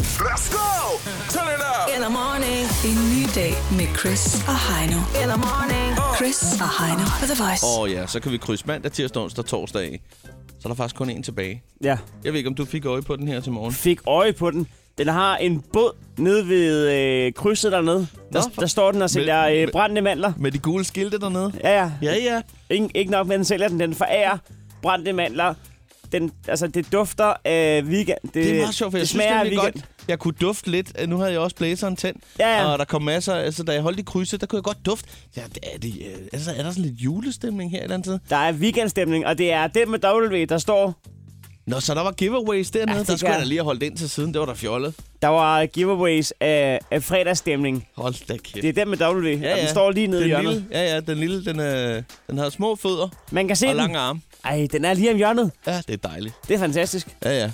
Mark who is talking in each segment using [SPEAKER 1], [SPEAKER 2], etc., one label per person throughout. [SPEAKER 1] Let's go! Turn it up!
[SPEAKER 2] Eller morning. En ny dag med Chris og Heino. Eller morning. Chris og Heino på The Voice.
[SPEAKER 3] Åh oh, ja, så kan vi krydse mandag, tirsdag, onsdag, torsdag af. Så er der faktisk kun en tilbage.
[SPEAKER 4] Ja.
[SPEAKER 3] Jeg ved ikke, om du fik øje på den her til morgen.
[SPEAKER 4] Fik øje på den. Den har en båd nede ved øh, krydset dernede. Der,
[SPEAKER 3] for-
[SPEAKER 4] der står den og sælger
[SPEAKER 3] Men-
[SPEAKER 4] øh, brændende mandler.
[SPEAKER 3] Med de gule skilte dernede.
[SPEAKER 4] Ja, ja.
[SPEAKER 3] Ja, ja.
[SPEAKER 4] Ingen, ikke nok med, den sælger den. Den forærer brændte mandler. Den, altså, det dufter af weekend. Øh, Det,
[SPEAKER 3] Det er meget sjovt, for jeg synes, det er godt. Jeg kunne dufte lidt. Øh, Nu havde jeg også blæseren tændt,
[SPEAKER 4] Ja, ja.
[SPEAKER 3] og der kom masser. Altså, da jeg holdt i krydset, der kunne jeg godt dufte. Ja, er, det, øh, altså, er der sådan lidt julestemning her et eller andet sted?
[SPEAKER 4] Der er weekendstemning, og det er det med W, der står...
[SPEAKER 3] Nå, så der var giveaways dernede.
[SPEAKER 4] Ja,
[SPEAKER 3] Ja,
[SPEAKER 4] det
[SPEAKER 3] der skulle
[SPEAKER 4] gør-
[SPEAKER 3] jeg da lige have holdt ind til siden. Det var da fjollet.
[SPEAKER 4] Der var giveaways af, af fredagsstemning.
[SPEAKER 3] Hold da kæft.
[SPEAKER 4] Det er den med W, ja, og den står lige nede
[SPEAKER 3] den
[SPEAKER 4] i hjørnet.
[SPEAKER 3] Lille, ja, ja, den lille, den, øh, den har små fødder
[SPEAKER 4] Man kan se
[SPEAKER 3] og
[SPEAKER 4] den.
[SPEAKER 3] lange arme.
[SPEAKER 4] Ej, den er lige om hjørnet.
[SPEAKER 3] Ja, det er dejligt.
[SPEAKER 4] Det er fantastisk.
[SPEAKER 3] Ja, ja.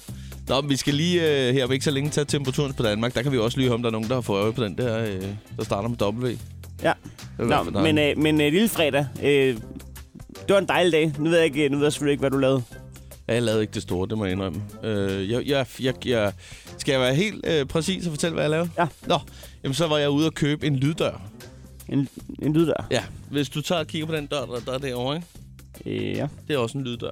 [SPEAKER 3] Nå, men vi skal lige øh, her om ikke så længe tage temperaturen på Danmark. Der kan vi også lige høre, om der er nogen, der har fået øje på den der, øh, der starter med W.
[SPEAKER 4] Ja. Nå, men, øh, men øh, lille fredag, øh, det var en dejlig dag. Nu ved jeg, ikke, øh, nu ved jeg selvfølgelig ikke, hvad du lavede. øh-
[SPEAKER 3] Ja, jeg lavede ikke det store, det må jeg indrømme. Øh, jeg, jeg, jeg, jeg, skal jeg være helt øh, præcis og fortælle, hvad jeg lavede?
[SPEAKER 4] Ja.
[SPEAKER 3] Nå, jamen, så var jeg ude og købe en lyddør.
[SPEAKER 4] En, en lyddør.
[SPEAKER 3] Ja, hvis du tager og kigger på den dør, der, der er derovre, ikke?
[SPEAKER 4] Øh, ja.
[SPEAKER 3] det er også en lyddør.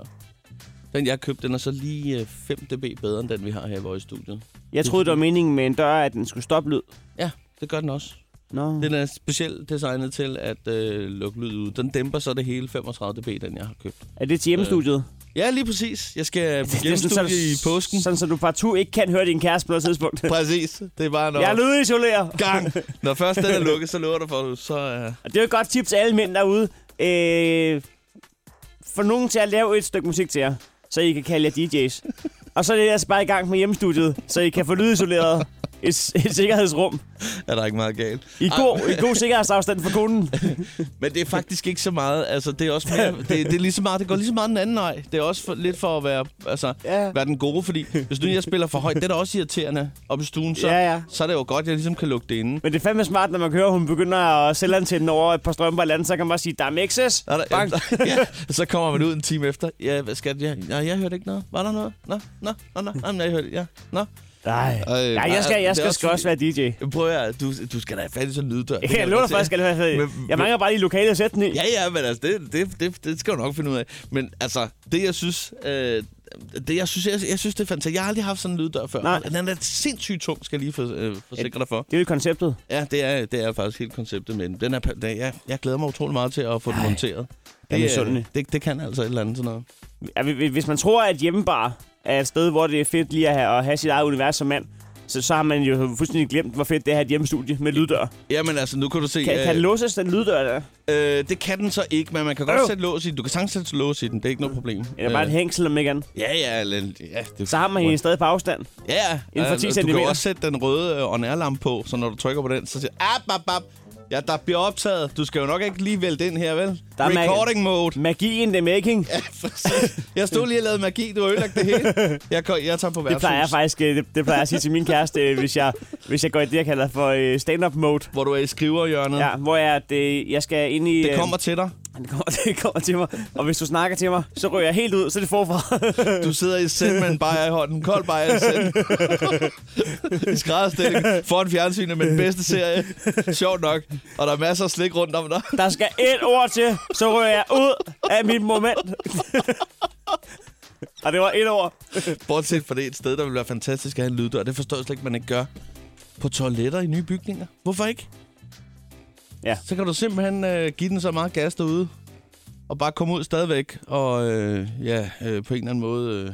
[SPEAKER 3] Den, jeg købte, den er så lige øh, 5 dB bedre, end den, vi har her i vores studie.
[SPEAKER 4] Jeg troede, det var meningen med en dør, at den skulle stoppe lyd.
[SPEAKER 3] Ja, det gør den også.
[SPEAKER 4] Nå.
[SPEAKER 3] Mm. Den er specielt designet til at øh, lukke lyd ud. Den dæmper så det hele 35 dB, den jeg har købt.
[SPEAKER 4] Er det til hjemmestudiet?
[SPEAKER 3] Ja, lige præcis. Jeg skal på
[SPEAKER 4] det er
[SPEAKER 3] hjemmestudie
[SPEAKER 4] sådan,
[SPEAKER 3] i påsken.
[SPEAKER 4] Sådan, så du partout ikke kan høre din kæreste på noget tidspunkt.
[SPEAKER 3] Præcis. Det er bare når,
[SPEAKER 4] Jeg er lydisolerer.
[SPEAKER 3] gang. Når først den er lukket, så lukker du for, så... Øh,
[SPEAKER 4] Og det er jo et godt tip til alle mænd derude. Øh, for nogen til at lave et stykke musik til jer, så I kan kalde jer DJ's. Og så er det altså bare i gang med hjemmestudiet, så I kan få lydisoleret et, et sikkerhedsrum.
[SPEAKER 3] er der ikke meget galt.
[SPEAKER 4] I
[SPEAKER 3] Ej,
[SPEAKER 4] god, i god sikkerhedsafstand for konen.
[SPEAKER 3] Men det er faktisk ikke så meget. Altså, det er også mere, det, det, er lige så meget, det går lige så meget den anden vej. Det er også for, lidt for at være, altså,
[SPEAKER 4] Ja.
[SPEAKER 3] ja. være den gode, fordi hvis nu jeg spiller for højt, det er da også irriterende op i stuen, så,
[SPEAKER 4] Ja, ja.
[SPEAKER 3] så er det jo godt, at jeg ligesom kan lukke det inde.
[SPEAKER 4] Men det er fandme smart, når man hører, at hun begynder at sælge antænden over et par strømper eller andet, så kan man bare sige, der er mixes.
[SPEAKER 3] Er der,
[SPEAKER 4] Bang.
[SPEAKER 3] ja, så kommer man ud en time efter. Ja, hvad skal jeg? Nej, jeg hørte ikke noget. Var der noget? Nå, nå, nå, nå. Jamen, jeg hørte, ja, nå.
[SPEAKER 4] Nej.
[SPEAKER 3] Øh,
[SPEAKER 4] Nej, jeg skal,
[SPEAKER 3] det er
[SPEAKER 4] jeg skal,
[SPEAKER 3] også
[SPEAKER 4] sgu også være DJ.
[SPEAKER 3] Prøv at høre, du, du skal da have fat i sådan en lyddør. Det kan
[SPEAKER 4] Jeg lukker
[SPEAKER 3] godt se.
[SPEAKER 4] faktisk, at jeg,
[SPEAKER 3] Men-
[SPEAKER 4] jeg mangler bare lige lokalet at sætte den i.
[SPEAKER 3] Ja, ja, men altså, det, det, det, det skal du nok finde ud af. Men altså, det jeg synes... Øh, det, jeg, synes, jeg, jeg synes, det er fantastisk. Jeg har aldrig haft sådan en lyddør før.
[SPEAKER 4] Nej.
[SPEAKER 3] Den er sindssygt tung, skal jeg lige for, øh, forsikre dig for.
[SPEAKER 4] Det er jo konceptet.
[SPEAKER 3] Ja, det er, det er faktisk helt konceptet med den. den. Er, pa- den jeg, jeg glæder mig utrolig meget til at få den
[SPEAKER 4] Ej,
[SPEAKER 3] monteret. Det,
[SPEAKER 4] jeg er
[SPEAKER 3] øh,
[SPEAKER 4] misundelig.
[SPEAKER 3] det, det kan altså et eller andet sådan noget.
[SPEAKER 4] Ja, hvis- Hvis man tror, at hjemmebar er et sted, hvor det er fedt lige at have, at have sit eget univers som mand, så, så har man jo fuldstændig glemt, hvor fedt det er at have et hjemmestudie med lyddør.
[SPEAKER 3] Jamen altså, nu kan du se...
[SPEAKER 4] Kan, kan
[SPEAKER 3] øh,
[SPEAKER 4] den låses, den lyddør der?
[SPEAKER 3] Øh, det kan den så ikke, men man kan godt
[SPEAKER 4] Øv.
[SPEAKER 3] sætte lås i den. Du kan sagtens sætte lås i den, det er ikke noget problem. Øh,
[SPEAKER 4] Eller bare et hængsel om ikke andet?
[SPEAKER 3] Ja, ja, eller, ja. Det,
[SPEAKER 4] Så har man hende stadig på afstand.
[SPEAKER 3] Ja, ja.
[SPEAKER 4] Inden for
[SPEAKER 3] Øh,
[SPEAKER 4] 10
[SPEAKER 3] Du kan
[SPEAKER 4] centimeter.
[SPEAKER 3] jo også sætte den røde øh, on-air-lampe på, så når du trykker på den, så siger ap, ap, ap. Ja, der bliver optaget. Du skal jo nok ikke lige vælte ind her, vel?
[SPEAKER 4] Der er mag-
[SPEAKER 3] Recording mode.
[SPEAKER 4] Magi in the making.
[SPEAKER 3] Ja, præcis. jeg stod lige og lavede magi. Du har ødelagt det hele. Jeg, går, jeg tager på værtshus.
[SPEAKER 4] Det plejer jeg faktisk øh, det, det plejer jeg at sige til min kæreste, øh, hvis jeg, hvis jeg går i det, jeg kalder for øh, stand-up mode.
[SPEAKER 3] Hvor du er i skriverhjørnet.
[SPEAKER 4] Ja, hvor jeg, det, jeg skal ind i...
[SPEAKER 3] Det
[SPEAKER 4] øh,
[SPEAKER 3] kommer til dig.
[SPEAKER 4] det, kommer, det kommer til mig. Og hvis du snakker til mig, så ryger jeg helt ud, så er det forfra.
[SPEAKER 3] Du sidder i sæt med en bajer i hånden. Kold bajer i sæt. I skrædderstilling. Foran fjernsynet med den bedste serie. Sjovt nok. Og der er masser af slik rundt om dig.
[SPEAKER 4] Der skal et ord til, så rører jeg ud af mit moment. og det var et ord.
[SPEAKER 3] Bortset fra det et sted, der ville være fantastisk at have en lyddør. Det forstår jeg slet ikke, man ikke gør. På toiletter i nye bygninger. Hvorfor ikke?
[SPEAKER 4] Ja.
[SPEAKER 3] Så kan du simpelthen øh, give den så meget gas derude. Og bare komme ud stadigvæk. Og øh, ja, øh, på en eller anden måde øh,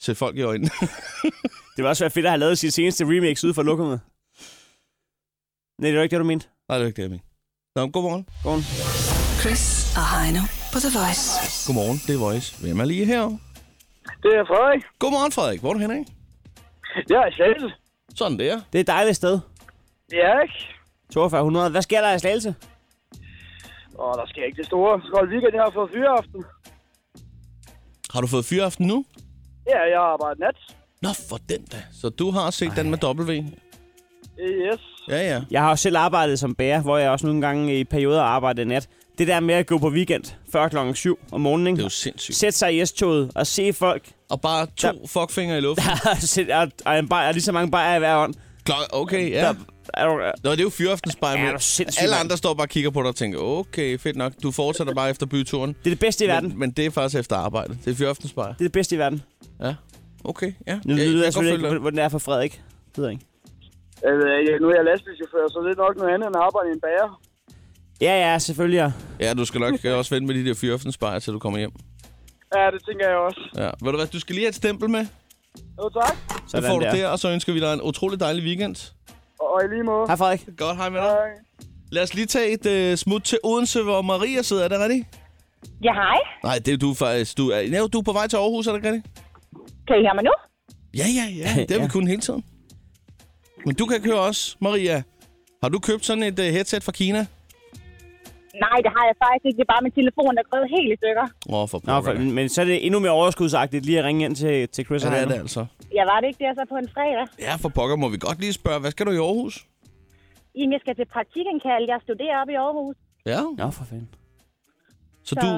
[SPEAKER 3] sætte folk i øjnene.
[SPEAKER 4] Det var også være fedt at have lavet sit seneste remix ude for lukkummet. Nej, det var ikke det, du mente.
[SPEAKER 3] Nej, det er ikke det, jeg mener. Nå, men godmorgen.
[SPEAKER 4] Godmorgen.
[SPEAKER 2] Chris og Heino på The Voice.
[SPEAKER 3] Godmorgen, det er Voice. Hvem er lige her?
[SPEAKER 5] Det er Frederik.
[SPEAKER 3] Godmorgen, Frederik. Hvor er du henne af?
[SPEAKER 5] Jeg er i Slagelse.
[SPEAKER 3] Sådan der.
[SPEAKER 4] Det er et dejligt sted.
[SPEAKER 5] Ja, ikke?
[SPEAKER 4] 4200. Hvad sker der i Slagelse?
[SPEAKER 5] Og der sker ikke det store. Skold weekend, jeg har fået fyreaften.
[SPEAKER 3] Har du fået fyreaften nu?
[SPEAKER 5] Ja, jeg har arbejdet nat.
[SPEAKER 3] Nå, for den da. Så du har set Ej. den med W?
[SPEAKER 5] Yes.
[SPEAKER 3] Ja, ja.
[SPEAKER 4] Jeg har jo selv arbejdet som bærer, hvor jeg også nogle gange i perioder arbejdede nat. Det der med at gå på weekend før klokken 7 om morgenen.
[SPEAKER 3] Det er jo
[SPEAKER 4] ikke?
[SPEAKER 3] sindssygt.
[SPEAKER 4] Sætte sig i S-toget og se folk,
[SPEAKER 3] Og bare to fuckfinger i luften.
[SPEAKER 4] der er, er, en bajer, lige så mange bajer i hver hånd.
[SPEAKER 3] Klok- Okay, ja.
[SPEAKER 4] Er du, er,
[SPEAKER 3] Nå, det er jo fyraftens
[SPEAKER 4] Ja,
[SPEAKER 3] bare
[SPEAKER 4] er du sindssyg,
[SPEAKER 3] Alle
[SPEAKER 4] mand.
[SPEAKER 3] andre står bare og kigger på dig og tænker, okay, fedt nok. Du fortsætter bare efter byturen.
[SPEAKER 4] det er det bedste i verden.
[SPEAKER 3] Men, men det er faktisk efter arbejde. Det er fyraftens bare.
[SPEAKER 4] Det er det bedste i verden.
[SPEAKER 3] Ja. Okay, ja.
[SPEAKER 4] Nu
[SPEAKER 3] ja,
[SPEAKER 4] ja, ved jeg
[SPEAKER 3] kan godt
[SPEAKER 4] selvfølgelig
[SPEAKER 3] følge
[SPEAKER 4] ikke,
[SPEAKER 3] dig.
[SPEAKER 4] hvordan det er for Frederik. Det ved jeg ikke.
[SPEAKER 5] Altså, jeg- nu er jeg lastbilchauffør, så det er nok noget andet end at arbejde i en bager.
[SPEAKER 4] Ja, ja, selvfølgelig. ja.
[SPEAKER 3] Ja, du skal nok også vente med de der fyraftens bare, til du kommer hjem.
[SPEAKER 5] Ja, det tænker jeg også.
[SPEAKER 3] Ja. Ved du hvad, du skal lige have et stempel med.
[SPEAKER 5] Jo, tak.
[SPEAKER 3] Så
[SPEAKER 4] Sådan
[SPEAKER 3] får du
[SPEAKER 4] der.
[SPEAKER 3] det, og så ønsker vi dig en utrolig dejlig weekend.
[SPEAKER 5] Og, og i lige måde.
[SPEAKER 4] Hej Frederik.
[SPEAKER 3] Godt, hej med dig.
[SPEAKER 5] Hej.
[SPEAKER 3] Lad os lige tage et uh, smut til Odense, hvor Maria sidder. Er det rigtigt?
[SPEAKER 6] Ja, hej.
[SPEAKER 3] Nej, det er du faktisk. Du er, ja, du er på vej til Aarhus, er det ikke rigtigt?
[SPEAKER 6] Kan I høre mig nu?
[SPEAKER 3] Ja, ja, ja. Det har vi
[SPEAKER 4] Ja.
[SPEAKER 3] kun hele tiden. Men du kan køre også, Maria. Har du købt sådan et uh, headset fra Kina?
[SPEAKER 6] Nej, det har jeg faktisk ikke. Det er bare min telefon, der er gået helt i stykker.
[SPEAKER 3] Åh, oh, for pokker.
[SPEAKER 4] Nå, for, men, men så er det endnu mere overskudsagtigt lige at ringe ind til, til Chris
[SPEAKER 3] Ja,
[SPEAKER 4] og
[SPEAKER 3] det er
[SPEAKER 4] Heino.
[SPEAKER 3] det altså.
[SPEAKER 6] Jeg var det ikke der så på en fredag.
[SPEAKER 3] Ja, for pokker må vi godt lige spørge, hvad skal du i Aarhus?
[SPEAKER 6] Jamen, jeg skal til praktikindkald. Jeg studerer op i Aarhus.
[SPEAKER 3] Ja.
[SPEAKER 4] Nå, for fanden.
[SPEAKER 3] Så
[SPEAKER 6] Så-
[SPEAKER 3] du...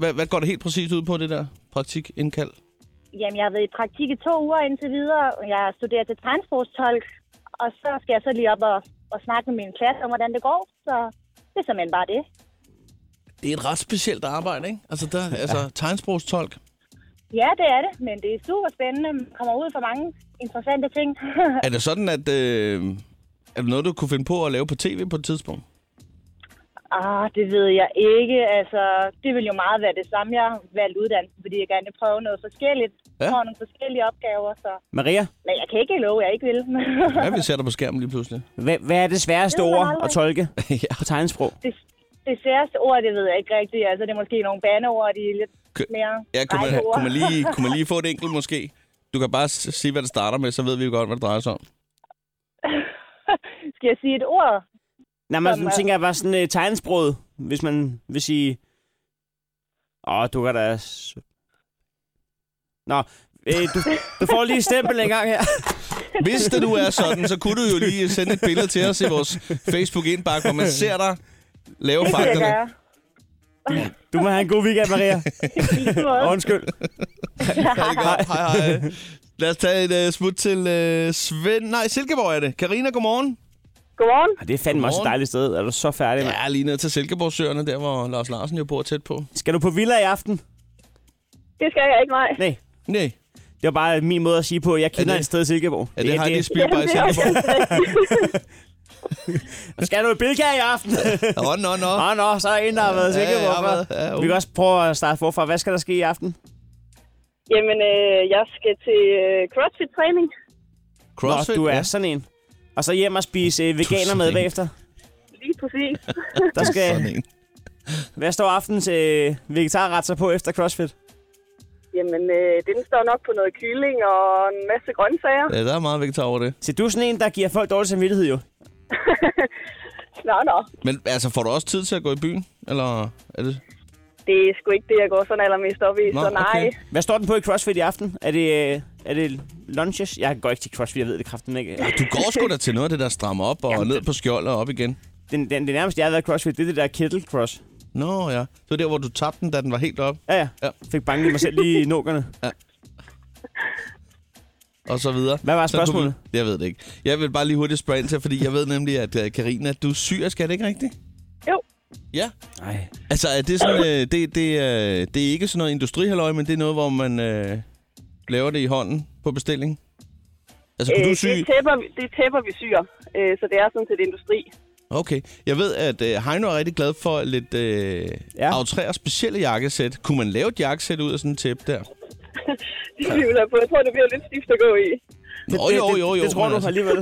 [SPEAKER 3] Hvad, hvad går det helt præcist ud på, det der praktikindkald?
[SPEAKER 6] Jamen, jeg har været i praktik i to uger indtil videre. Jeg studerer til tegnsprogstolk. Og så skal jeg så lige op og, og snakke med min klasse om, hvordan det går. Så det er simpelthen bare det.
[SPEAKER 3] Det er et ret specielt arbejde, ikke? Altså, der, altså tegnsprogstolk.
[SPEAKER 6] Ja, det er det. Men det er super spændende. Man kommer ud for mange interessante ting.
[SPEAKER 3] Er det sådan, at... Øh, er det noget, du kunne finde på at lave på tv på et tidspunkt?
[SPEAKER 6] ah, det ved jeg ikke. Altså, det vil jo meget være det samme. Jeg har valgt uddannelsen, fordi jeg gerne vil prøve noget forskelligt.
[SPEAKER 3] Ja.
[SPEAKER 6] Ja. Prøve nogle forskellige opgaver, så...
[SPEAKER 4] Maria,
[SPEAKER 6] Men jeg kan ikke love, jeg ikke vil.
[SPEAKER 3] Ja, vi ser dig på skærmen lige pludselig.
[SPEAKER 4] hvad, hvad er det sværeste
[SPEAKER 6] Det ved man
[SPEAKER 4] ord
[SPEAKER 6] aldrig.
[SPEAKER 4] at tolke
[SPEAKER 3] ja.
[SPEAKER 4] på tegnsprog?
[SPEAKER 6] det, det sværeste ord, det ved jeg ikke rigtigt. Altså, det er måske nogle bandeord, de er lidt
[SPEAKER 3] Kø-
[SPEAKER 6] mere
[SPEAKER 3] Ja, kunne man,
[SPEAKER 6] rejseord.
[SPEAKER 3] kunne, man lige, kunne man lige få et enkelt måske? Du kan bare s- sige, hvad det starter med, så ved vi jo godt, hvad det drejer sig om.
[SPEAKER 6] Skal jeg sige et ord?
[SPEAKER 4] Nej, men
[SPEAKER 6] Som
[SPEAKER 4] nu
[SPEAKER 6] er-
[SPEAKER 4] tænker jeg bare sådan uh, tegnsprog, hvis man vil sige... Åh, oh, du kan da... s- Nå, øh, du, du får lige et stempel en gang her.
[SPEAKER 3] Hvis det nu er sådan, så kunne du jo lige sende et billede til os i vores Facebook-indbakke, hvor man ser dig lave
[SPEAKER 6] Det kan jeg
[SPEAKER 3] fakterne.
[SPEAKER 6] gøre.
[SPEAKER 4] Du må have en god weekend, Maria.
[SPEAKER 6] I lige måde.
[SPEAKER 4] Og undskyld.
[SPEAKER 3] Hej, hej. hej, hej. Lad os tage et uh, smut til uh, Svend. Nej, Silkeborg er det. Karina, godmorgen.
[SPEAKER 6] Godmorgen.
[SPEAKER 4] Ah, det er fandme også et
[SPEAKER 3] Godmorgen.
[SPEAKER 4] dejligt sted. Er du så færdig, mand?
[SPEAKER 3] Ja, lige ned til Silkeborgsøerne, der hvor Lars Larsen jo bor tæt på.
[SPEAKER 4] Skal du på villa i aften?
[SPEAKER 6] Det skal jeg ikke, nej.
[SPEAKER 4] Nej.
[SPEAKER 3] Nej,
[SPEAKER 4] Det var bare min måde at sige på, at jeg kender
[SPEAKER 3] det-
[SPEAKER 4] et sted i Silkeborg.
[SPEAKER 3] er det, det, Heidi Spielberg i
[SPEAKER 6] Jamen, det er også
[SPEAKER 3] Silkeborg?
[SPEAKER 4] Skal du i Bilka i aften?
[SPEAKER 3] Nå, nå, nå.
[SPEAKER 4] Nå, nå, så er en, der har været i
[SPEAKER 3] Ja, ja,
[SPEAKER 4] Silkeborg
[SPEAKER 3] jeg
[SPEAKER 4] før.
[SPEAKER 3] har været- ja, oh. uh. jo.
[SPEAKER 4] Vi kan også prøve at starte forfra. Hvad skal der ske i aften?
[SPEAKER 6] Jamen, øh, jeg skal til øh, CrossFit-træning.
[SPEAKER 4] Nå, du er sådan en. Og så hjem og spise øh, veganer
[SPEAKER 3] sådan
[SPEAKER 4] med
[SPEAKER 3] en.
[SPEAKER 4] bagefter.
[SPEAKER 6] Lige præcis.
[SPEAKER 4] Der
[SPEAKER 3] Sådan
[SPEAKER 4] skal,
[SPEAKER 3] en.
[SPEAKER 4] hvad står aftens øh, vegetarret så på efter CrossFit?
[SPEAKER 6] Jamen, øh, den står nok på noget kylling og en masse grøntsager.
[SPEAKER 3] Ja, der er meget vegetar over det.
[SPEAKER 4] Så du er sådan en, der giver folk dårlig samvittighed jo.
[SPEAKER 6] Nå, nå.
[SPEAKER 3] Men altså, får du også tid til at gå i byen? Eller er det...
[SPEAKER 6] Det er sgu ikke det, jeg går sådan allermest op i,
[SPEAKER 3] Nå,
[SPEAKER 6] så nej.
[SPEAKER 3] okay.
[SPEAKER 4] Hvad står den på i CrossFit i aften? Er det, øh, er det lunches? Jeg går ikke til CrossFit, jeg ved det kraften ikke.
[SPEAKER 3] Du går sgu da til noget af det, der strammer op og
[SPEAKER 4] Jamen,
[SPEAKER 3] ned
[SPEAKER 4] det-
[SPEAKER 3] på skjold og op igen.
[SPEAKER 4] Den, den, det nærmeste, jeg har været i CrossFit, det er det der kettle cross.
[SPEAKER 3] Nå ja, det var der, hvor du tabte den, da den var helt op,
[SPEAKER 4] Ja, ja.
[SPEAKER 3] Ja.
[SPEAKER 4] ja. Fik banket mig selv lige i nukkerne.
[SPEAKER 3] og så videre.
[SPEAKER 4] Hvad var
[SPEAKER 3] Så kunne vi-
[SPEAKER 4] spørgsmålet?
[SPEAKER 3] Jeg ved det ikke. Jeg vil bare lige hurtigt spørge ind til, fordi jeg ved nemlig, at øh, Karina, du er syrisk, er det ikke rigtigt?
[SPEAKER 6] Jo.
[SPEAKER 3] Ja.
[SPEAKER 4] Nej.
[SPEAKER 3] Altså, er det sådan, øh, det, det, øh, det er ikke sådan noget industrihalløj, men det er noget, hvor man øh, laver det i hånden på bestilling? Altså, kunne øh, du sy...
[SPEAKER 7] det, tæpper, vi- det tæpper vi syr, øh, så det er sådan set industri.
[SPEAKER 3] Okay. Jeg ved, at øh, Heino er rigtig glad for lidt øh, ja.
[SPEAKER 4] Ja.
[SPEAKER 3] aftræer specielle jakkesæt. Kunne man lave et jakkesæt ud af sådan en tæppe der?
[SPEAKER 7] Det tvivler jeg på. Jeg tror, det bliver lidt stift at gå i.
[SPEAKER 3] Nå,
[SPEAKER 4] det,
[SPEAKER 3] jo,
[SPEAKER 4] det,
[SPEAKER 3] jo, jo.
[SPEAKER 4] Det, det tror
[SPEAKER 3] men
[SPEAKER 4] du
[SPEAKER 3] altså,
[SPEAKER 4] alligevel.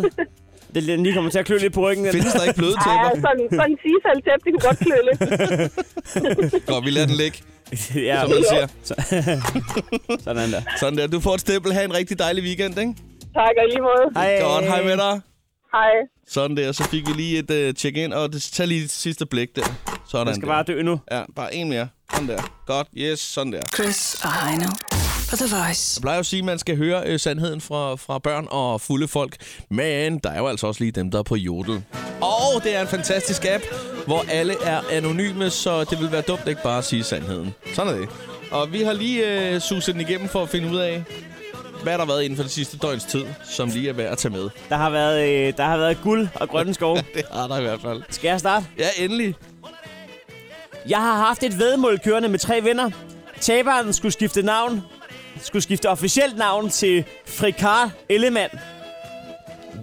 [SPEAKER 4] Det er lige kommer til at klø lidt på ryggen. den.
[SPEAKER 3] Findes der ikke bløde
[SPEAKER 7] Ej,
[SPEAKER 3] tæpper?
[SPEAKER 7] sådan, sådan en sisal-tæp, det kunne godt klø lidt.
[SPEAKER 3] Godt, vi lader den ligge,
[SPEAKER 4] ja,
[SPEAKER 3] som man siger.
[SPEAKER 4] sådan der.
[SPEAKER 3] Sådan der. Du får et stempel. Ha' en rigtig dejlig weekend, ikke?
[SPEAKER 7] Tak og i lige måde.
[SPEAKER 4] Hej.
[SPEAKER 3] Godt, hej med dig.
[SPEAKER 7] Hej.
[SPEAKER 3] Sådan der. Så fik vi lige et øh, check-in, og det, tag lige et sidste blik der. Sådan
[SPEAKER 4] Jeg skal
[SPEAKER 3] der.
[SPEAKER 4] bare dø nu.
[SPEAKER 3] Ja, bare en mere. Sådan der. Godt, yes, sådan der.
[SPEAKER 2] Chris og Heino på The Voice.
[SPEAKER 3] Jeg plejer jo at sige, at man skal høre øh, sandheden fra, fra børn og fulde folk. Men der er jo altså også lige dem, der er på Jodel. Og det er en fantastisk app. hvor alle er anonyme, så det vil være dumt ikke bare at sige sandheden. Sådan er det. Og vi har lige øh, suset den igennem for at finde ud af, hvad der har været inden for det sidste døgns tid, som lige er værd at tage med.
[SPEAKER 4] Der har været, øh, der har været guld og grønne skove.
[SPEAKER 3] Det har der i hvert fald.
[SPEAKER 4] Skal jeg starte?
[SPEAKER 3] Ja, endelig.
[SPEAKER 4] Jeg har haft et vedmål kørende med tre venner. Taberen skulle skifte navn. Skulle skifte officielt navn til Frikar Ellemann.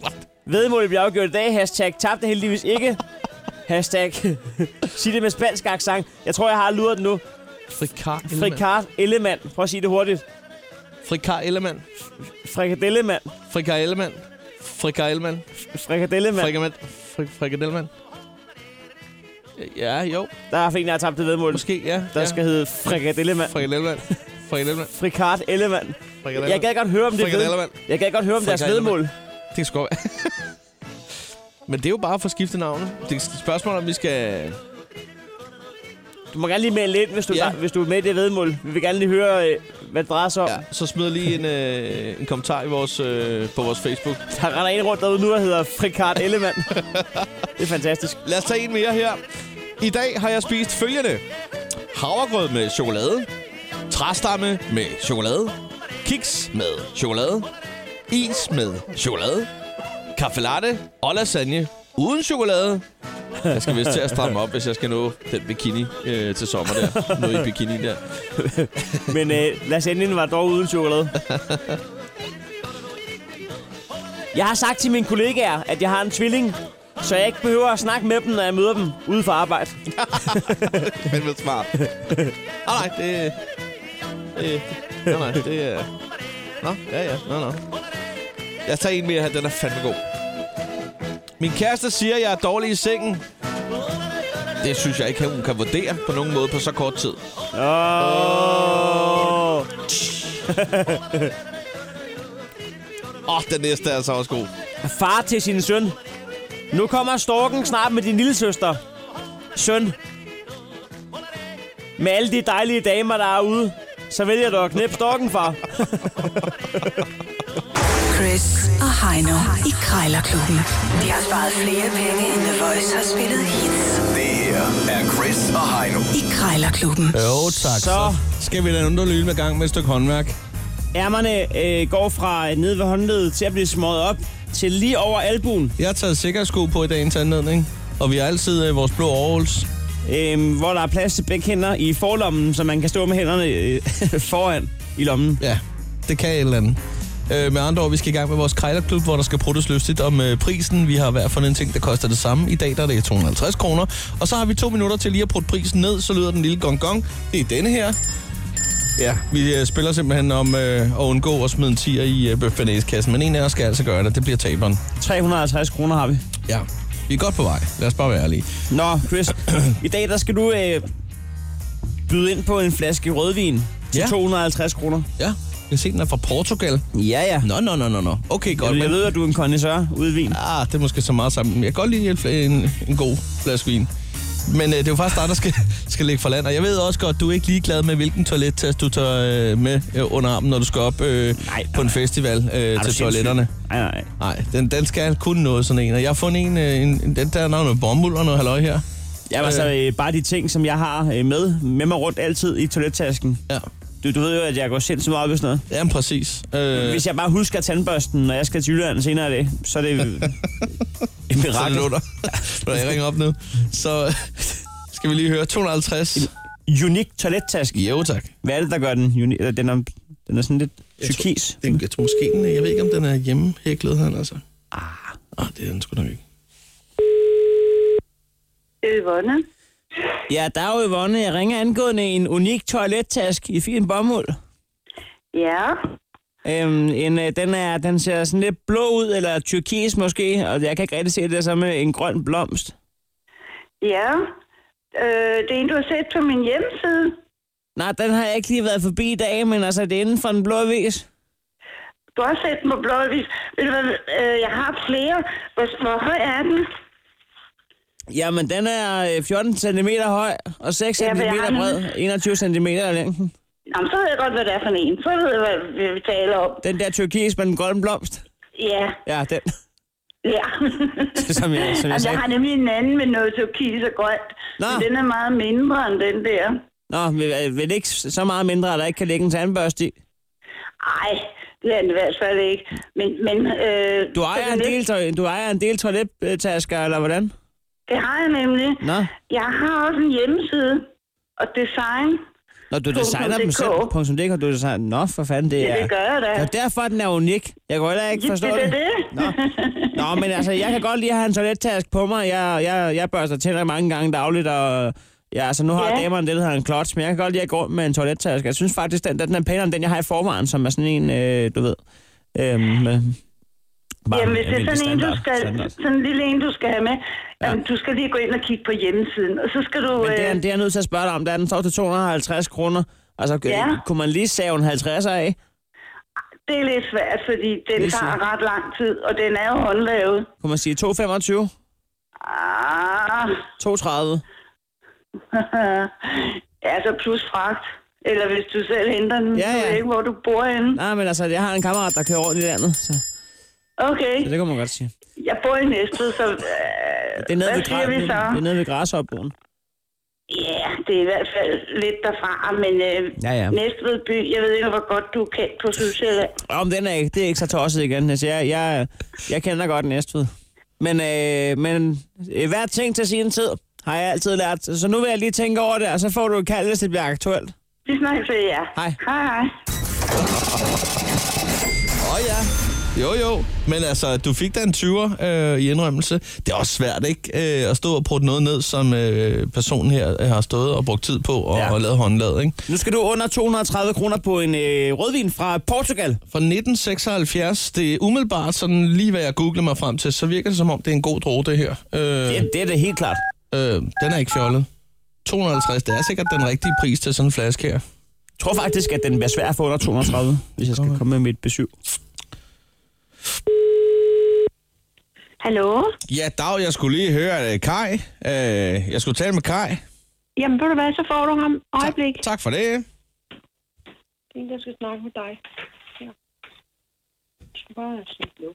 [SPEAKER 3] What?
[SPEAKER 4] Vedmålet blev afgjort i dag. Hashtag tabte heldigvis ikke. Hashtag sig det med spansk accent. Jeg tror, jeg har luret den nu.
[SPEAKER 3] Frikar Ellemann.
[SPEAKER 4] Frikar Ellemann. Prøv at sige det hurtigt.
[SPEAKER 3] Frikar Ellemann.
[SPEAKER 4] Frikadellemann.
[SPEAKER 3] Frikar Ellemann. Frikar Ellemann.
[SPEAKER 4] Frikadellemann.
[SPEAKER 3] Frikament. Frik Frikadellemann. Ja, jo.
[SPEAKER 4] Der er en, der har tabt det vedmål.
[SPEAKER 3] Måske, ja.
[SPEAKER 4] Der
[SPEAKER 3] ja.
[SPEAKER 4] skal hedde Frikadellemann.
[SPEAKER 3] Frikadellemann. Frikadellemann.
[SPEAKER 4] Frikart Ellemann. Jeg
[SPEAKER 3] Frikadellemann.
[SPEAKER 4] gad godt høre om det ved.
[SPEAKER 3] Frikadellemann.
[SPEAKER 4] Jeg gad godt høre om deres
[SPEAKER 3] Frikadellemann.
[SPEAKER 4] vedmål.
[SPEAKER 3] Det skal godt være. Men det er jo bare for at skifte navne. Det er et spørgsmål, om vi skal...
[SPEAKER 4] Du må gerne lige melde ind, hvis du,
[SPEAKER 3] Ja.
[SPEAKER 4] ja. hvis du er med i det vedmål. Vi vil gerne lige høre, øh, hvad det drejer sig om. Ja.
[SPEAKER 3] Ja, så smid lige en, øh, en kommentar i vores, øh, på vores Facebook.
[SPEAKER 4] Der render en rundt derude nu, der hedder Frikart Ellemann. det er fantastisk.
[SPEAKER 3] Lad os tage en mere her. I dag har jeg spist følgende. Havregrød med chokolade. Træstamme med chokolade. Kiks med chokolade. Is med chokolade. Kaffe latte og lasagne uden chokolade. Jeg skal vist til at stramme op, hvis jeg skal nå den bikini øh, til sommer der. Nå i bikini der.
[SPEAKER 4] Men øh, lasagnen var dog uden chokolade. Jeg har sagt til mine kollegaer, at jeg har en tvilling, så jeg ikke behøver at snakke med dem, når jeg møder dem ude for arbejde.
[SPEAKER 3] Men vel smart. Ah, nej, det... det nej, nej, det er... Nå, ja, ja, nå, nå. Jeg tager en mere her, den er fandme god. Min kæreste siger, at jeg er dårlig i sengen. Det synes jeg ikke, hun kan vurdere på nogen måde på så kort tid.
[SPEAKER 4] Åh, oh.
[SPEAKER 3] Åh, oh, den næste er altså også god.
[SPEAKER 4] Far til sin søn. Nu kommer storken snart med din lille søster. Søn. Med alle de dejlige damer, der er ude, så vælger du at knæppe storken, far.
[SPEAKER 2] Chris og Heino i Krejlerklubben. De har sparet flere penge, end The Voice har spillet hits
[SPEAKER 1] Det her er Chris og Heino.
[SPEAKER 2] i Krejlerklubben.
[SPEAKER 3] Jo, tak.
[SPEAKER 4] Så
[SPEAKER 3] skal vi da undre lyne med gang med et stykke håndværk.
[SPEAKER 4] ærmerne øh, går fra nede ved håndledet til at blive smøget op til lige over albuen,
[SPEAKER 3] Jeg har taget sikkerhedssko på i dagens anledning. Og vi har altid øh, vores blå overholds.
[SPEAKER 4] øh, hvor der er plads til begge hænder i forlommen, så man kan stå med hænderne øh, foran i lommen.
[SPEAKER 3] Ja, det kan et eller andet. Øh, med andre ord, vi skal i gang med vores krejlerklub, hvor der skal pruttes lystigt om øh, prisen. Vi har hver fundet en ting, der koster det samme. I dag der er det 250 kroner. Og så har vi to minutter til lige at prutte prisen ned, så lyder den lille gong gong. Det er denne her. Ja, vi øh, spiller simpelthen om øh, at undgå at smide en tier i øh, bøffanæskassen, men en af os skal altså gøre det. Det bliver taberen.
[SPEAKER 4] 350 kroner har vi.
[SPEAKER 3] Ja, vi er godt på vej. Lad os bare være ærlige.
[SPEAKER 4] Nå, Chris, i dag der skal du øh, byde ind på en flaske rødvin til
[SPEAKER 3] Ja.
[SPEAKER 4] ja. 250 kroner.
[SPEAKER 3] Ja, jeg kan se, den er fra Portugal.
[SPEAKER 4] Ja, ja.
[SPEAKER 3] Nå, nå, nå, nå, nå. Okay, godt.
[SPEAKER 4] Jeg
[SPEAKER 3] men-
[SPEAKER 4] ved, at du er en kondisør ude i Wien.
[SPEAKER 3] Ah, det er måske så meget sammen. Jeg kan godt lide en, fla- en, en god flaske vin. Men øh, det er jo faktisk dig, der skal, skal ligge for land. Og jeg ved også godt, du er ikke ligeglad med, hvilken toilettest du tager øh, med øh, under armen, når du skal op øh,
[SPEAKER 4] nej,
[SPEAKER 3] på en festival øh, til toiletterne.
[SPEAKER 4] Nej, nej.
[SPEAKER 3] Nej, den, den skal kun noget sådan en. Og jeg har fundet en, øh, en en- den der er noget bomuld og noget halløj her.
[SPEAKER 4] Jeg var så øh, bare de ting, som jeg har øh, med, med mig rundt altid i toilettasken.
[SPEAKER 3] Ja,
[SPEAKER 4] Du, du ved jo, at jeg går sindssygt meget op i sådan noget.
[SPEAKER 3] jamen præcis. Øh,
[SPEAKER 4] Hvis jeg bare husker tandbørsten, når jeg skal til Jylland senere i dag, så er det øh, et
[SPEAKER 3] så er det
[SPEAKER 4] mirakel.
[SPEAKER 3] lutter. Når jeg ringer op nu. Så skal vi lige høre 250.
[SPEAKER 4] Unik toilettaske.
[SPEAKER 3] Jo tak.
[SPEAKER 4] Hvad er det, der gør den? Uni- eller den, er, den er sådan lidt turkis.
[SPEAKER 3] Den, jeg tror måske, den er, jeg ved ikke, om den er hjemmehæklet, han altså. Ah. ah, det er den sgu nok ikke.
[SPEAKER 7] Yvonne.
[SPEAKER 4] Ja, der er jo Yvonne. Jeg ringer angående en unik toilettaske i fin bomuld.
[SPEAKER 7] Ja.
[SPEAKER 4] Øhm, en, øh, den, er, den ser sådan lidt blå ud, eller turkis måske, og jeg kan ikke rigtig se det der som øh, en grøn blomst.
[SPEAKER 7] Ja. Øh, det er en, du har set på min hjemmeside.
[SPEAKER 4] Nej, den har jeg ikke lige været forbi i dag, men altså, det er inden for en blå avis.
[SPEAKER 7] Du har set den på blå avis. Ved du hvad, øh, jeg har flere. Hvor, hvor høj er den?
[SPEAKER 4] Jamen, den er øh, 14 cm høj og 6
[SPEAKER 7] Ja,
[SPEAKER 4] cm
[SPEAKER 7] men jeg har den.
[SPEAKER 4] bred, 21 cm i længden.
[SPEAKER 7] Jamen, så ved jeg godt, hvad det er for en. Så ved jeg, hvad vi taler om.
[SPEAKER 4] Den der turkis med den grønne blomst.
[SPEAKER 7] Ja,
[SPEAKER 4] Ja, den.
[SPEAKER 7] Ja.
[SPEAKER 4] Som jeg- som jeg
[SPEAKER 7] altså,
[SPEAKER 4] sagde.
[SPEAKER 7] jeg har nemlig en anden med noget turkis og grønt.
[SPEAKER 4] Nå.
[SPEAKER 7] Men Den er meget mindre end den der.
[SPEAKER 4] Nå, men er- vel ikke så meget mindre, at der ikke kan lægge en tandbørste i.
[SPEAKER 7] Ej, det er den i hvert fald ikke. Men, men, øh,
[SPEAKER 4] Du
[SPEAKER 7] så
[SPEAKER 4] ejer
[SPEAKER 7] den
[SPEAKER 4] en
[SPEAKER 7] næste-
[SPEAKER 4] del, toilet- du ejer en del toilettasker, eller hvordan?
[SPEAKER 7] Det har jeg nemlig.
[SPEAKER 4] Nå.
[SPEAKER 7] Jeg har også en hjemmeside og design.
[SPEAKER 4] Når du designer dem
[SPEAKER 7] .dk.
[SPEAKER 4] selv, punktum .dk, du designer Nå, for fanden, det er...
[SPEAKER 7] Ja, det gør jeg da.
[SPEAKER 4] Det er derfor, den er unik. Jeg kan heller ikke
[SPEAKER 7] Ja,
[SPEAKER 4] forstå
[SPEAKER 7] det. er
[SPEAKER 4] det.
[SPEAKER 7] det.
[SPEAKER 4] Nå, men altså, jeg kan godt lide at have en toilettask på mig. Jeg, jeg, jeg børster tænder mange gange dagligt, og ja, altså, nu har
[SPEAKER 7] Ja.
[SPEAKER 4] ja. damerne det, der hedder en klods, men jeg kan godt lide at gå rundt med en toilettask. Jeg synes faktisk, den, den er pænere end den, jeg har i forvejen, som er sådan en, øh, du ved... Øhm, øh, bare
[SPEAKER 7] Jamen, hvis det
[SPEAKER 4] almindelig
[SPEAKER 7] er sådan en, du
[SPEAKER 4] standard-
[SPEAKER 7] skal,
[SPEAKER 4] standard.
[SPEAKER 7] sådan en lille en, du skal have med, jamen, du skal lige gå ind og kigge på hjemmesiden, og så skal du...
[SPEAKER 4] Men det er,
[SPEAKER 7] øh,
[SPEAKER 4] det er jeg nødt til at spørge dig om. Der er den står til 250 kroner. Altså, ja.
[SPEAKER 7] Ja.
[SPEAKER 4] kunne man lige save en 50 af?
[SPEAKER 7] det er lidt svært, fordi den
[SPEAKER 4] Det er
[SPEAKER 7] tager
[SPEAKER 4] svært.
[SPEAKER 7] ret lang tid, og den er jo håndlavet.
[SPEAKER 4] Kunne man sige 225?
[SPEAKER 7] Ah,
[SPEAKER 4] 230?
[SPEAKER 7] ja, så plus fragt. Eller hvis du selv henter den,
[SPEAKER 4] Ja,
[SPEAKER 7] ja, ja.
[SPEAKER 4] ja.
[SPEAKER 7] ved ikke, hvor du bor henne.
[SPEAKER 4] Nej, men altså, jeg har en kammerat, der kører rundt i landet, så,
[SPEAKER 7] Okay,
[SPEAKER 4] så det kan man godt sige.
[SPEAKER 7] jeg bor i Næstved, så... Øh,
[SPEAKER 4] Det er nede, ved,
[SPEAKER 7] hvad siger
[SPEAKER 4] gra-
[SPEAKER 7] vi
[SPEAKER 4] det,
[SPEAKER 7] så?
[SPEAKER 4] det er nede ved græsopbogen.
[SPEAKER 7] Ja, det er i hvert fald lidt derfra, men øh,
[SPEAKER 4] Ja, ja.
[SPEAKER 7] Næstved by, jeg ved ikke, hvor godt du er kendt på Sydsjælland.
[SPEAKER 4] Om den er ikke, det er ikke så tosset igen. Altså, jeg, jeg, jeg kender godt Næstved. Men, øh, men øh, hver ting til sin tid, har jeg altid lært. Så nu vil jeg lige tænke over det, og så får du et kald, hvis det bliver aktuelt.
[SPEAKER 7] Vi snakkes ved jer.
[SPEAKER 4] Hej.
[SPEAKER 7] Hej, hej.
[SPEAKER 3] Åh oh, ja. Jo, jo. Men altså, du fik da en 20'er øh, i indrømmelse. Det er også svært, ikke? Øh, at stå og putte noget ned, som øh, personen her øh, har stået og brugt tid på og, ja.
[SPEAKER 4] Ja.
[SPEAKER 3] og lavet håndlaget, ikke?
[SPEAKER 4] Nu skal du under 230 kroner på en øh, rødvin fra Portugal.
[SPEAKER 3] Fra 1976, det er umiddelbart sådan lige hvad jeg googlede mig frem til, så virker det som om, det er en god droge, det her. Øh,
[SPEAKER 4] Ja, det er det helt klart.
[SPEAKER 3] øh, den er ikke fjollet. 250, det er sikkert den rigtige pris til sådan en flaske her.
[SPEAKER 4] Jeg tror faktisk, at den bliver svær at få under 230, hvis jeg skal komme med mit besøg.
[SPEAKER 7] Hallo?
[SPEAKER 3] Ja, Dag, jeg skulle lige høre øh, Kai. Øh, jeg skulle tale med Kai.
[SPEAKER 8] Jamen, ved du hvad, så får du ham. Øjeblik.
[SPEAKER 3] Tak for det.
[SPEAKER 8] Det er en, der skal snakke med dig. Ja. Du skal bare sige nu.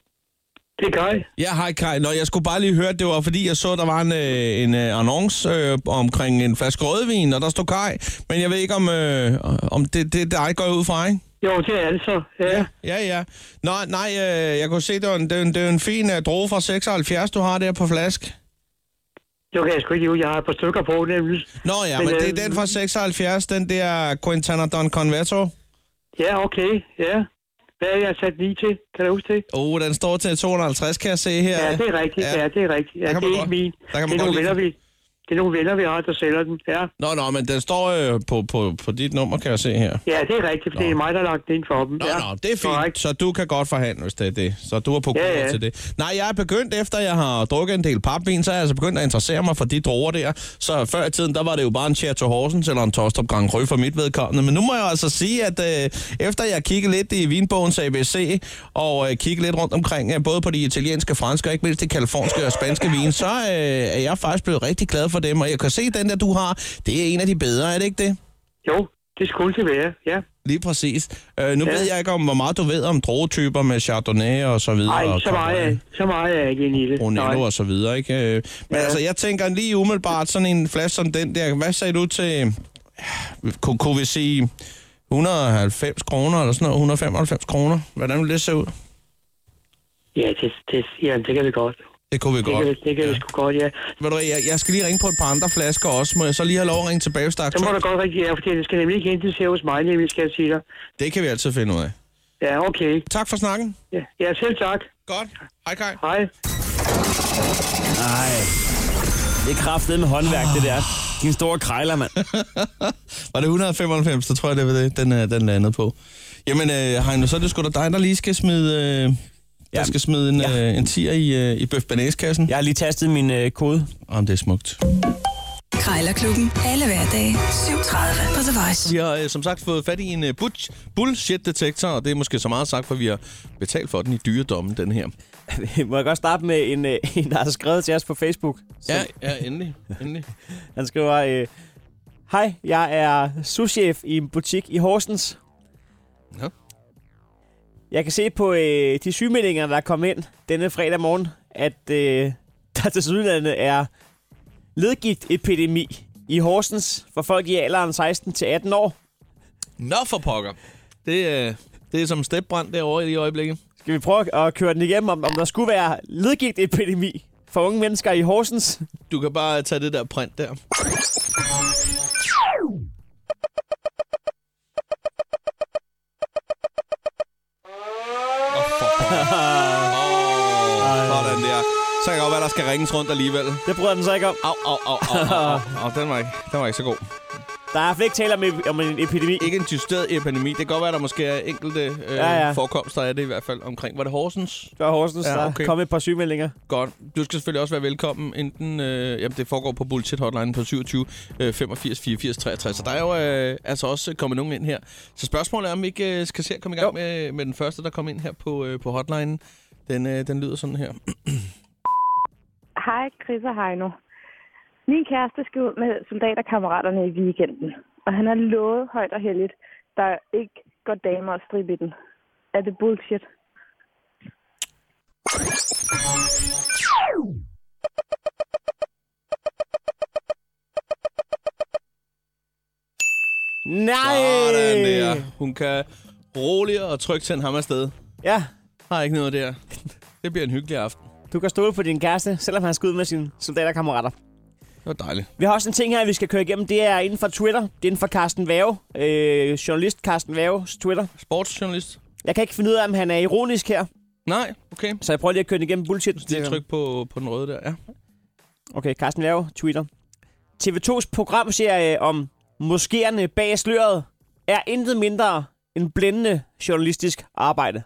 [SPEAKER 5] Det gør jeg.
[SPEAKER 3] Ja, hej Kai. Nå, jeg skulle bare lige høre, at det var fordi, jeg så, der var en, øh, en øh, annonce øh, omkring en flaske rødvin, og der stod Kai. Men jeg ved ikke, om, øh, om det, det dig går jeg ud fra, ikke?
[SPEAKER 5] Jo, det er det så. Ja.
[SPEAKER 3] Ja, ja. Nå, nej, øh, jeg kunne se, det var en, det var en, det var en fin øh, droge fra 76, du har der på flask.
[SPEAKER 5] Jo, kan jeg sgu ikke ud. Jeg har et par stykker på, nemlig.
[SPEAKER 3] Nå ja, men,
[SPEAKER 5] Men,
[SPEAKER 3] men det
[SPEAKER 5] øh,
[SPEAKER 3] er den fra 76, den der Quintana Don Converto.
[SPEAKER 5] Ja, okay. Ja. Hvad er jeg sat lige til? Kan du huske det?
[SPEAKER 3] Oh, den står til 250, kan jeg se her.
[SPEAKER 5] Ja, det er rigtigt.
[SPEAKER 3] Ja.
[SPEAKER 5] Ja, det er rigtigt. Ja,
[SPEAKER 3] Der kan man
[SPEAKER 5] det er ikke
[SPEAKER 3] godt-
[SPEAKER 5] min.
[SPEAKER 3] der kan man
[SPEAKER 5] Det
[SPEAKER 3] godt
[SPEAKER 5] er nogle
[SPEAKER 3] lide
[SPEAKER 5] venner, vi... Det er nogle venner, vi har, der sælger den. Ja,
[SPEAKER 3] Nå, nå, men den står øh, på, på, på dit nummer, kan jeg se her.
[SPEAKER 5] ja det er rigtigt, for det er mig, der har lagt den ind for dem.
[SPEAKER 3] Nå,
[SPEAKER 5] ja.
[SPEAKER 3] Mm-hmm. ja. nå, det er fint.
[SPEAKER 5] Korrekt.
[SPEAKER 3] Så du kan godt forhandle, hvis det er det. Så du er på ja,
[SPEAKER 5] Ja,
[SPEAKER 3] ja.
[SPEAKER 5] ja.
[SPEAKER 3] til det. Nej, jeg er begyndt, efter jeg har drukket en del papvin, så er jeg altså begyndt at interessere mig for de droger der. Så før i tiden, der var det jo bare en Chateau Horsens eller en Tostrup Grand Cru for mit vedkommende. Men nu må jeg altså sige, at øh, efter jeg kiggede lidt i vinbogens ABC, og øh, kiggede lidt rundt omkring, øh, både på de italienske, franske og ikke mindst de kaliforniske og spanske vine, så øh, er jeg faktisk blevet rigtig glad for dem. Og jeg kan se, den der, du har, det er en af de bedre, er det ikke det?
[SPEAKER 5] Jo, det skulle det være. Ja.
[SPEAKER 3] Lige præcis. Øh, nu ja.
[SPEAKER 5] Ja.
[SPEAKER 3] ved jeg ikke, om hvor meget du ved om drogetyper med Chardonnay og så videre.
[SPEAKER 5] Ej,
[SPEAKER 3] og
[SPEAKER 5] så meget, øh, så meget er jeg ikke inde i det.
[SPEAKER 3] Brunello
[SPEAKER 5] Nej.
[SPEAKER 3] og så videre, ikke? Øh, Men ja.
[SPEAKER 5] Ja.
[SPEAKER 3] altså, jeg tænker lige umiddelbart sådan en flaske som den der. Hvad sagde du til, kunne, kunne vi sige, 190 kroner eller sådan noget, 195 kroner? Hvordan vil det se ud?
[SPEAKER 5] Ja, det, det, jamen, det kan vi godt.
[SPEAKER 3] Det kunne vi
[SPEAKER 5] Det
[SPEAKER 3] godt.
[SPEAKER 5] kan, vi- det kan ja. vi sgu godt, ja.
[SPEAKER 3] Ved du hvad, jeg, jeg skal lige ringe på et par andre flasker også. Må jeg så lige have lov at ringe tilbage, hvis der er
[SPEAKER 5] Så må
[SPEAKER 3] aktuelt?
[SPEAKER 5] du godt rigtig, ja, fordi det skal nemlig ikke hentes her hos mig, nemlig skal jeg sige dig.
[SPEAKER 3] Det kan vi altid finde ud af.
[SPEAKER 5] Ja, okay.
[SPEAKER 3] Tak for snakken.
[SPEAKER 5] Ja, ja selv tak.
[SPEAKER 3] Godt. Hej, Kai.
[SPEAKER 5] Hej.
[SPEAKER 4] Nej. Det er kraftet med håndværk, det der. Din store krejler, mand.
[SPEAKER 3] Var det 195, så tror jeg, det var det, den, øh, den landede på. Jamen, øh, Heino, så er det sgu da dig, der lige skal smide, øh, der
[SPEAKER 4] Jamen,
[SPEAKER 3] skal smide en,
[SPEAKER 4] ja.
[SPEAKER 3] øh, en tier i, øh, i bøf kassen
[SPEAKER 4] Jeg har lige tastet min øh, kode.
[SPEAKER 3] Om det er smukt.
[SPEAKER 2] Krejlerklubben. Alle hverdage 7.30 på The Voice.
[SPEAKER 3] Vi har øh, som sagt fået fat i en øh, butch, bullshit-detektor, og det er måske så meget sagt, for vi har betalt for den i dyredommen, den her.
[SPEAKER 4] Må jeg godt starte med en, øh, en der har skrevet til os på Facebook? Så
[SPEAKER 3] Ja, ja, endelig. endelig.
[SPEAKER 4] Han skriver, øh, Hej, jeg er souschef i en butik i Horsens.
[SPEAKER 3] Nå.
[SPEAKER 4] Jeg kan se på øh, de sygemeldinger, der er kommet ind denne fredag morgen, at øh, der til sydlandet er ledgigtepidemi i Horsens for folk i alderen 16 til 18 år.
[SPEAKER 3] Nå for pokker. Det, øh, det er som stepbrand derovre i øjeblikket.
[SPEAKER 4] Skal vi prøve at køre den igennem, om, om der skulle være ledgigtepidemi for unge mennesker i Horsens?
[SPEAKER 3] Du kan bare tage det der print der. Sådan der. Så kan det godt være, der skal ringes rundt alligevel.
[SPEAKER 4] Det bryder den så ikke om.
[SPEAKER 3] Au, au, au, au, au, au. den, var ikke, den var ikke så god.
[SPEAKER 4] Der er i hvert fald ikke tale om, ep- om en epidemi.
[SPEAKER 3] Ikke en justeret epidemi. Det kan godt være, der måske er enkelte øh,
[SPEAKER 4] Ja,
[SPEAKER 3] ja,
[SPEAKER 4] ja.
[SPEAKER 3] ja. forekomster af det i hvert fald omkring. Var det Horsens?
[SPEAKER 4] Det var Horsens,
[SPEAKER 3] Ja,
[SPEAKER 4] ja, okay.
[SPEAKER 3] okay.
[SPEAKER 4] der kom et par sygemeldinger.
[SPEAKER 3] Godt. Du skal selvfølgelig også være velkommen. Enten, øh, jamen, det foregår på Bullshit Hotline på 27 øh, 85 84 63. Så der er jo øh, altså også kommet nogen ind her. Så spørgsmålet er, om vi ikke øh, skal se at komme i gang med, med den første, der kom ind her på, øh, på hotline. Den, øh, den lyder sådan her.
[SPEAKER 9] Hej, Chris og Heino. Min kæreste skal ud med soldaterkammeraterne i weekenden, og han har lovet højt og heldigt, der ikke går damer og strip i den. Er det bullshit?
[SPEAKER 4] Nej!
[SPEAKER 3] Sådan der. Hun kan roligt og trygt sende ham afsted.
[SPEAKER 4] Ja,
[SPEAKER 3] Har ikke noget der. Det bliver en hyggelig aften.
[SPEAKER 4] du kan stole på din kæreste, selvom han skal ud med sine soldaterkammerater.
[SPEAKER 3] Det var dejligt.
[SPEAKER 4] Vi har også en ting her, vi skal køre igennem. Det er inden for Twitter. Det er inden for Carsten Vave. Øh, journalist Carsten Vaves Twitter.
[SPEAKER 3] Sportsjournalist?
[SPEAKER 4] Jeg kan ikke finde ud af, om han er ironisk her.
[SPEAKER 3] Nej, okay.
[SPEAKER 4] Så jeg prøver lige at køre den igennem bullshit.
[SPEAKER 3] Det er tryk på, på den røde der, ja.
[SPEAKER 4] Okay, Carsten Vave, Twitter. TV2's programserie om moskéerne bag sløret er intet mindre end blændende journalistisk arbejde.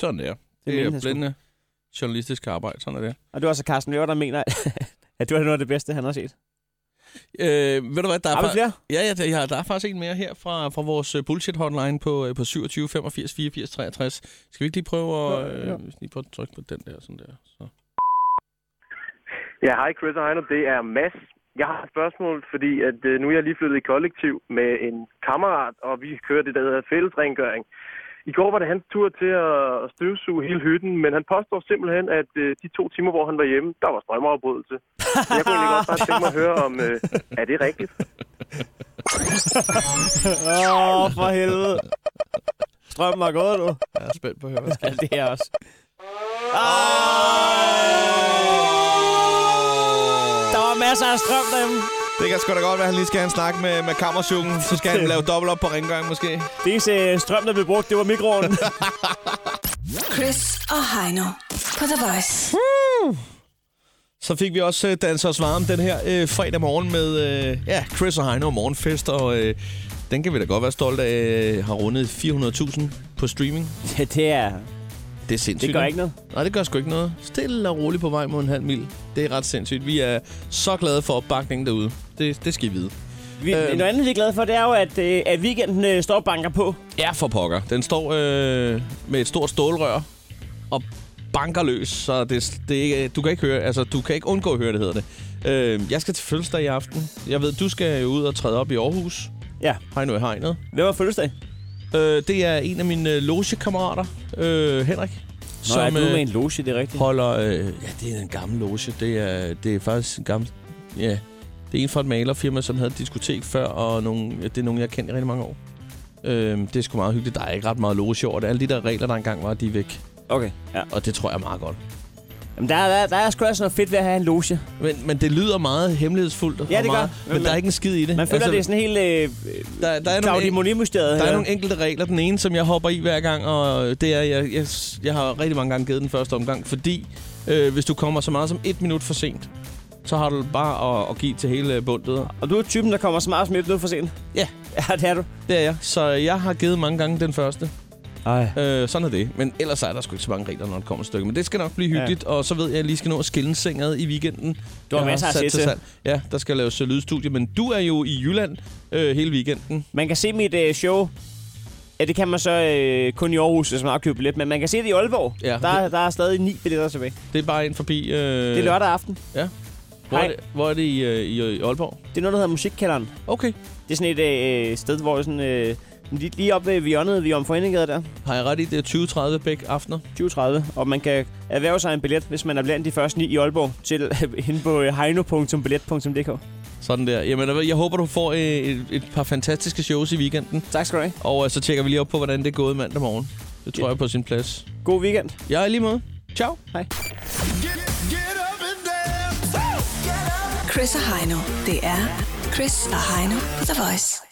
[SPEAKER 3] Sådan der.
[SPEAKER 4] Det
[SPEAKER 3] Det
[SPEAKER 4] mente
[SPEAKER 3] er
[SPEAKER 4] han
[SPEAKER 3] blændende journalistisk arbejde, sådan er det.
[SPEAKER 4] Og det var så Carsten Løver, der mener, at det var noget af det bedste, han har set.
[SPEAKER 3] Øh, ved du hvad, der er,
[SPEAKER 4] Har vi
[SPEAKER 3] fa-
[SPEAKER 4] flere?
[SPEAKER 3] Ja, ja, der, ja, der er faktisk en mere her fra, fra vores øh, bullshit-hotline på, øh, på 27 85 84 63. Skal vi ikke lige prøve at, øh, lige prøve at trykke på den der, sådan der? Så.
[SPEAKER 10] Ja, hej Chris og Heino, det er Mads. Jeg har et spørgsmål, fordi at, øh, nu er jeg lige flyttet i kollektiv med en kammerat, og vi kører det, der hedder fællesrengøring. I går var det hans tur til at støvsuge hele hytten, men han påstår simpelthen, at øh, de to timer, hvor han var hjemme, der var strømmeafbrydelse. Så Jeg kunne egentlig godt bare tænke mig at høre, om øh, er det rigtigt?
[SPEAKER 4] Åh, oh, for helvede. Strømmen var gået, du.
[SPEAKER 3] Jeg er spændt på at høre, hvad der
[SPEAKER 4] Ja, det er jeg også.
[SPEAKER 3] sker.
[SPEAKER 4] Der var masser af strøm derhjemme.
[SPEAKER 3] Det kan sgu da godt være, at han lige skal have en snak med, med kammersjungen. Så skal han lave dobbelt op på rengøring måske.
[SPEAKER 4] Det eneste strøm, der blev brugt, det var mikroovnen.
[SPEAKER 2] Chris og Heino på The Voice.
[SPEAKER 3] Så fik vi også øh, danset os varme den her øh, fredag morgen med øh, ja, Chris og Heino og morgenfest. Og øh, den kan vi da godt være stolte af, øh, har rundet 400.000 på streaming.
[SPEAKER 4] ja, det er...
[SPEAKER 3] Det er sindssygt.
[SPEAKER 4] Det gør ikke noget.
[SPEAKER 3] Nej, det gør sgu ikke noget. Stille og roligt på vej mod en halv mil. Det er ret sindssygt. Vi er så glade for opbakningen derude. Det, det skal I vide.
[SPEAKER 4] Vi,
[SPEAKER 3] Øhm.
[SPEAKER 4] Noget andet, vi er glade for, det er jo, at, øh, at weekenden øh, står og banker på.
[SPEAKER 3] Ja, for pokker. Den står øh, med et stort stålrør og banker løs, så det, det, er ikke- du kan ikke høre, altså du kan ikke undgå at høre, det hedder det. Øh, jeg skal til fødselsdag i aften. Jeg ved, du skal jo ud og træde op i Aarhus.
[SPEAKER 4] Ja.
[SPEAKER 3] Hej nu i hegnet.
[SPEAKER 4] Hvem var fødselsdag?
[SPEAKER 3] Øh, det er en af mine øh, logekammerater, øh, Henrik.
[SPEAKER 4] Nå, som,
[SPEAKER 3] øh,
[SPEAKER 4] er du med en loge, det er rigtigt.
[SPEAKER 3] holder... Øh, ja, det er en gammel loge. Det er, det er faktisk en gammel... Ja, det er en fra et malerfirma, som havde et diskotek før, og nogle, det er nogen, jeg har kendt i rigtig mange år. Øh, det er sgu meget hyggeligt. Der er ikke ret meget loge over det. Alle de der regler, der engang var, de er væk.
[SPEAKER 4] Okay, ja.
[SPEAKER 3] Og det tror jeg er meget godt.
[SPEAKER 4] Jamen, der, er- der, er- der er sgu også noget fedt ved at have en loge.
[SPEAKER 3] Men, men det lyder meget hemmelighedsfuldt. og
[SPEAKER 4] Ja, det gør.
[SPEAKER 3] meget, Men,
[SPEAKER 4] Men
[SPEAKER 3] der er
[SPEAKER 4] man-
[SPEAKER 3] ikke en skid i det.
[SPEAKER 4] Man føler, altså, det er sådan helt øh,
[SPEAKER 3] der, der er nogle-
[SPEAKER 4] Claudie Monet-mysteriet.
[SPEAKER 3] Der er
[SPEAKER 4] her.
[SPEAKER 3] nogle enkelte regler. Den ene, som jeg hopper i hver gang, og det er, jeg, jeg, jeg har rigtig mange gange givet den første omgang, fordi øh, hvis du kommer så meget som et minut for sent, så har du bare at, at give til hele øh, bundet.
[SPEAKER 4] Og du er typen, der kommer smart som et nød for sent.
[SPEAKER 3] Ja.
[SPEAKER 4] Ja, det er du.
[SPEAKER 3] Det er jeg. Så jeg har givet mange gange den første.
[SPEAKER 4] Ej.
[SPEAKER 3] Øh, sådan er det. Men ellers er der sgu ikke så mange regler, når det kommer et stykke. Men det skal nok blive hyggeligt, ja. og så ved jeg, at jeg lige skal nå at skille senget i weekenden.
[SPEAKER 4] Du har
[SPEAKER 3] Jeg
[SPEAKER 4] masser af
[SPEAKER 3] sat
[SPEAKER 4] at se til.
[SPEAKER 3] salg. Ja, der skal laves øh, lydstudie, men du er jo i Jylland øh, hele weekenden.
[SPEAKER 4] Man kan se mit øh, show. Ja, det kan man så øh, kun i Aarhus, hvis man har købt billet. Men man kan se det i Aalborg.
[SPEAKER 3] Ja.
[SPEAKER 4] Der, er- der er stadig ni billetter tilbage.
[SPEAKER 3] Det er bare ind forbi... Øh,
[SPEAKER 4] Det er lørdag aften.
[SPEAKER 3] Ja. Hvor, er det, hvor er det i, øh, i, i Aalborg?
[SPEAKER 4] Det er noget, der hedder Musikkælderen.
[SPEAKER 3] Okay.
[SPEAKER 4] Det er sådan et øh, sted, hvor sådan, øh, lige, lige oppe ved hjørnet, vi om Foreningade der.
[SPEAKER 3] Har jeg ret i, det er 20.30 begge aftener?
[SPEAKER 4] 20.30, og man kan erhverve sig en billet, hvis man er blandt de første ni i Aalborg, til hen på øh, heino.billet.dk.
[SPEAKER 3] Sådan der. Jamen, jeg- jeg håber, du får øh, et, et par fantastiske shows i weekenden.
[SPEAKER 4] Tak skal du have.
[SPEAKER 3] Og øh, så tjekker vi lige op på, hvordan det er gået mandag morgen. Det tror jeg er på sin plads.
[SPEAKER 4] God weekend.
[SPEAKER 3] Jeg er lige måde. Ciao.
[SPEAKER 4] Hej.
[SPEAKER 2] Chris og Heino. Det er Chris og Heino på The Voice.